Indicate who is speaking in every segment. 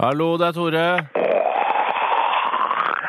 Speaker 1: Hallo, det er Tore.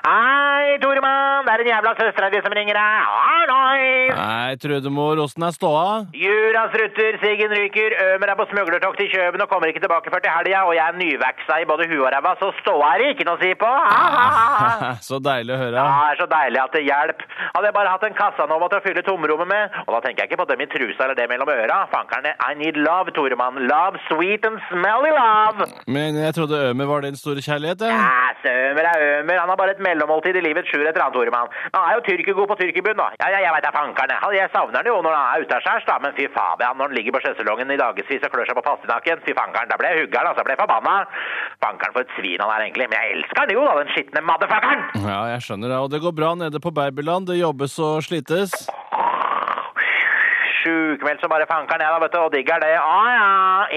Speaker 2: Hei, Toremann! Det er den jævla søstera di som ringer deg. Hallois!
Speaker 1: Nei, Trødemor, åssen er ståa?
Speaker 2: Juras rutter, Siggen ryker, Ømer er på smuglertokt til Kjøben og kommer ikke tilbake før til helga, og jeg er nyveksa i både huet og ræva, så ståa er det ikke noe å si på. Ha, ha, ha, ha.
Speaker 1: Så deilig å høre.
Speaker 2: Ja, det er så deilig at det hjelper. Hadde jeg bare hatt en Casanova til å fylle tomrommet med, og da tenker jeg ikke på dem i trusa eller det mellom øra. Fankerne, I need love, Toremann. Love, sweet and smelly love.
Speaker 1: Men jeg trodde Ømer var din store kjærlighet, jeg.
Speaker 2: Æsj, Ømer er Ømer. Han har bare et mellommåltid i livets sju etter annet, Toremann. Han er jo tyrkergod på tyrkerbunn, da. Ja, ja, jeg veit da fankerne. Han- Jeg savner han jo når han er utaskjærs, da. Men fy faen, når han ligger på sjøsalongen i dagevis og klør seg på pastinaken, fy fankeren, da ble jeg hugger'n, altså. Jeg ble forbanna. Fankeren for et svin han er, egentlig. Men jeg elsker han jo, da, den skitne motherfuckeren.
Speaker 1: Ja, jeg skjønner det. Og det går bra nede på Babyland. Det jobbes og slites.
Speaker 2: Sjukmeldt som bare fankeren, jeg, da, vet du, og digger det. Ah, ja.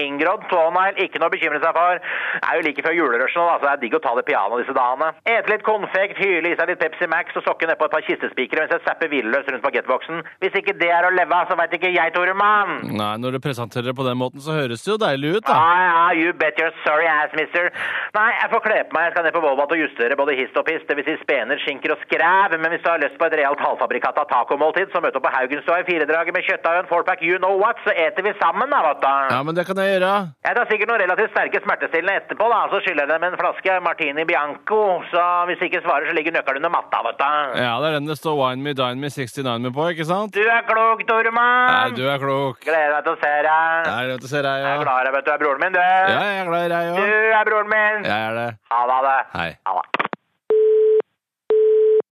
Speaker 2: Inngrodd tånegl, ikke noe å bekymre seg for. Det er jo like før julerushen, nå, da, så det er digg å ta det piano disse dagene. Ete litt konfekt, hyle i seg litt Pepsi Max og sokke nedpå et par kistespikere mens jeg zapper hvileløs rundt bagettboksen. Hvis ikke det er å leve av, så veit ikke jeg, Tore Mann.
Speaker 1: Nei, når du presenterer det på den måten, så høres det jo deilig ut, da.
Speaker 2: Ah, ja, you bet your sorry ass, mister. Nei, jeg får kle på meg. Jeg skal ned på Volvat og justere både hist og pist, dvs. Si spener, skinker og skræv. Men hvis du har lyst på et realt halvfabrikata tacomåltid, så møt opp på Haugenstua i firedraget med kjøttdeig og en fourpack you know what, så eter vi sammen, da, vet du.
Speaker 1: Ja, men det kan jeg gjøre.
Speaker 2: Jeg tar sikkert noen relativt sterke smertestillende etterpå, da. Så skyller jeg dem en flaske Martini Bianco. Så hvis de ikke svarer, så ligger nøkkelen under matta, vet du.
Speaker 1: Ja, det er den det står Wine Me, Dine Me, 69 Me på, ikke sant?
Speaker 2: Du er klok,
Speaker 1: Nei,
Speaker 2: Tormann.
Speaker 1: du er klok.
Speaker 2: Gleder meg til å se deg.
Speaker 1: Nei, det ser jeg,
Speaker 2: Jeg er
Speaker 1: ja.
Speaker 2: glad i deg, vet du. Du er broren min, du.
Speaker 1: Ja, jeg er glad i deg,
Speaker 2: Du
Speaker 1: ja.
Speaker 2: er broren min.
Speaker 1: Jeg er det.
Speaker 2: Ha det, ha det.
Speaker 1: Hei.
Speaker 2: Ha det.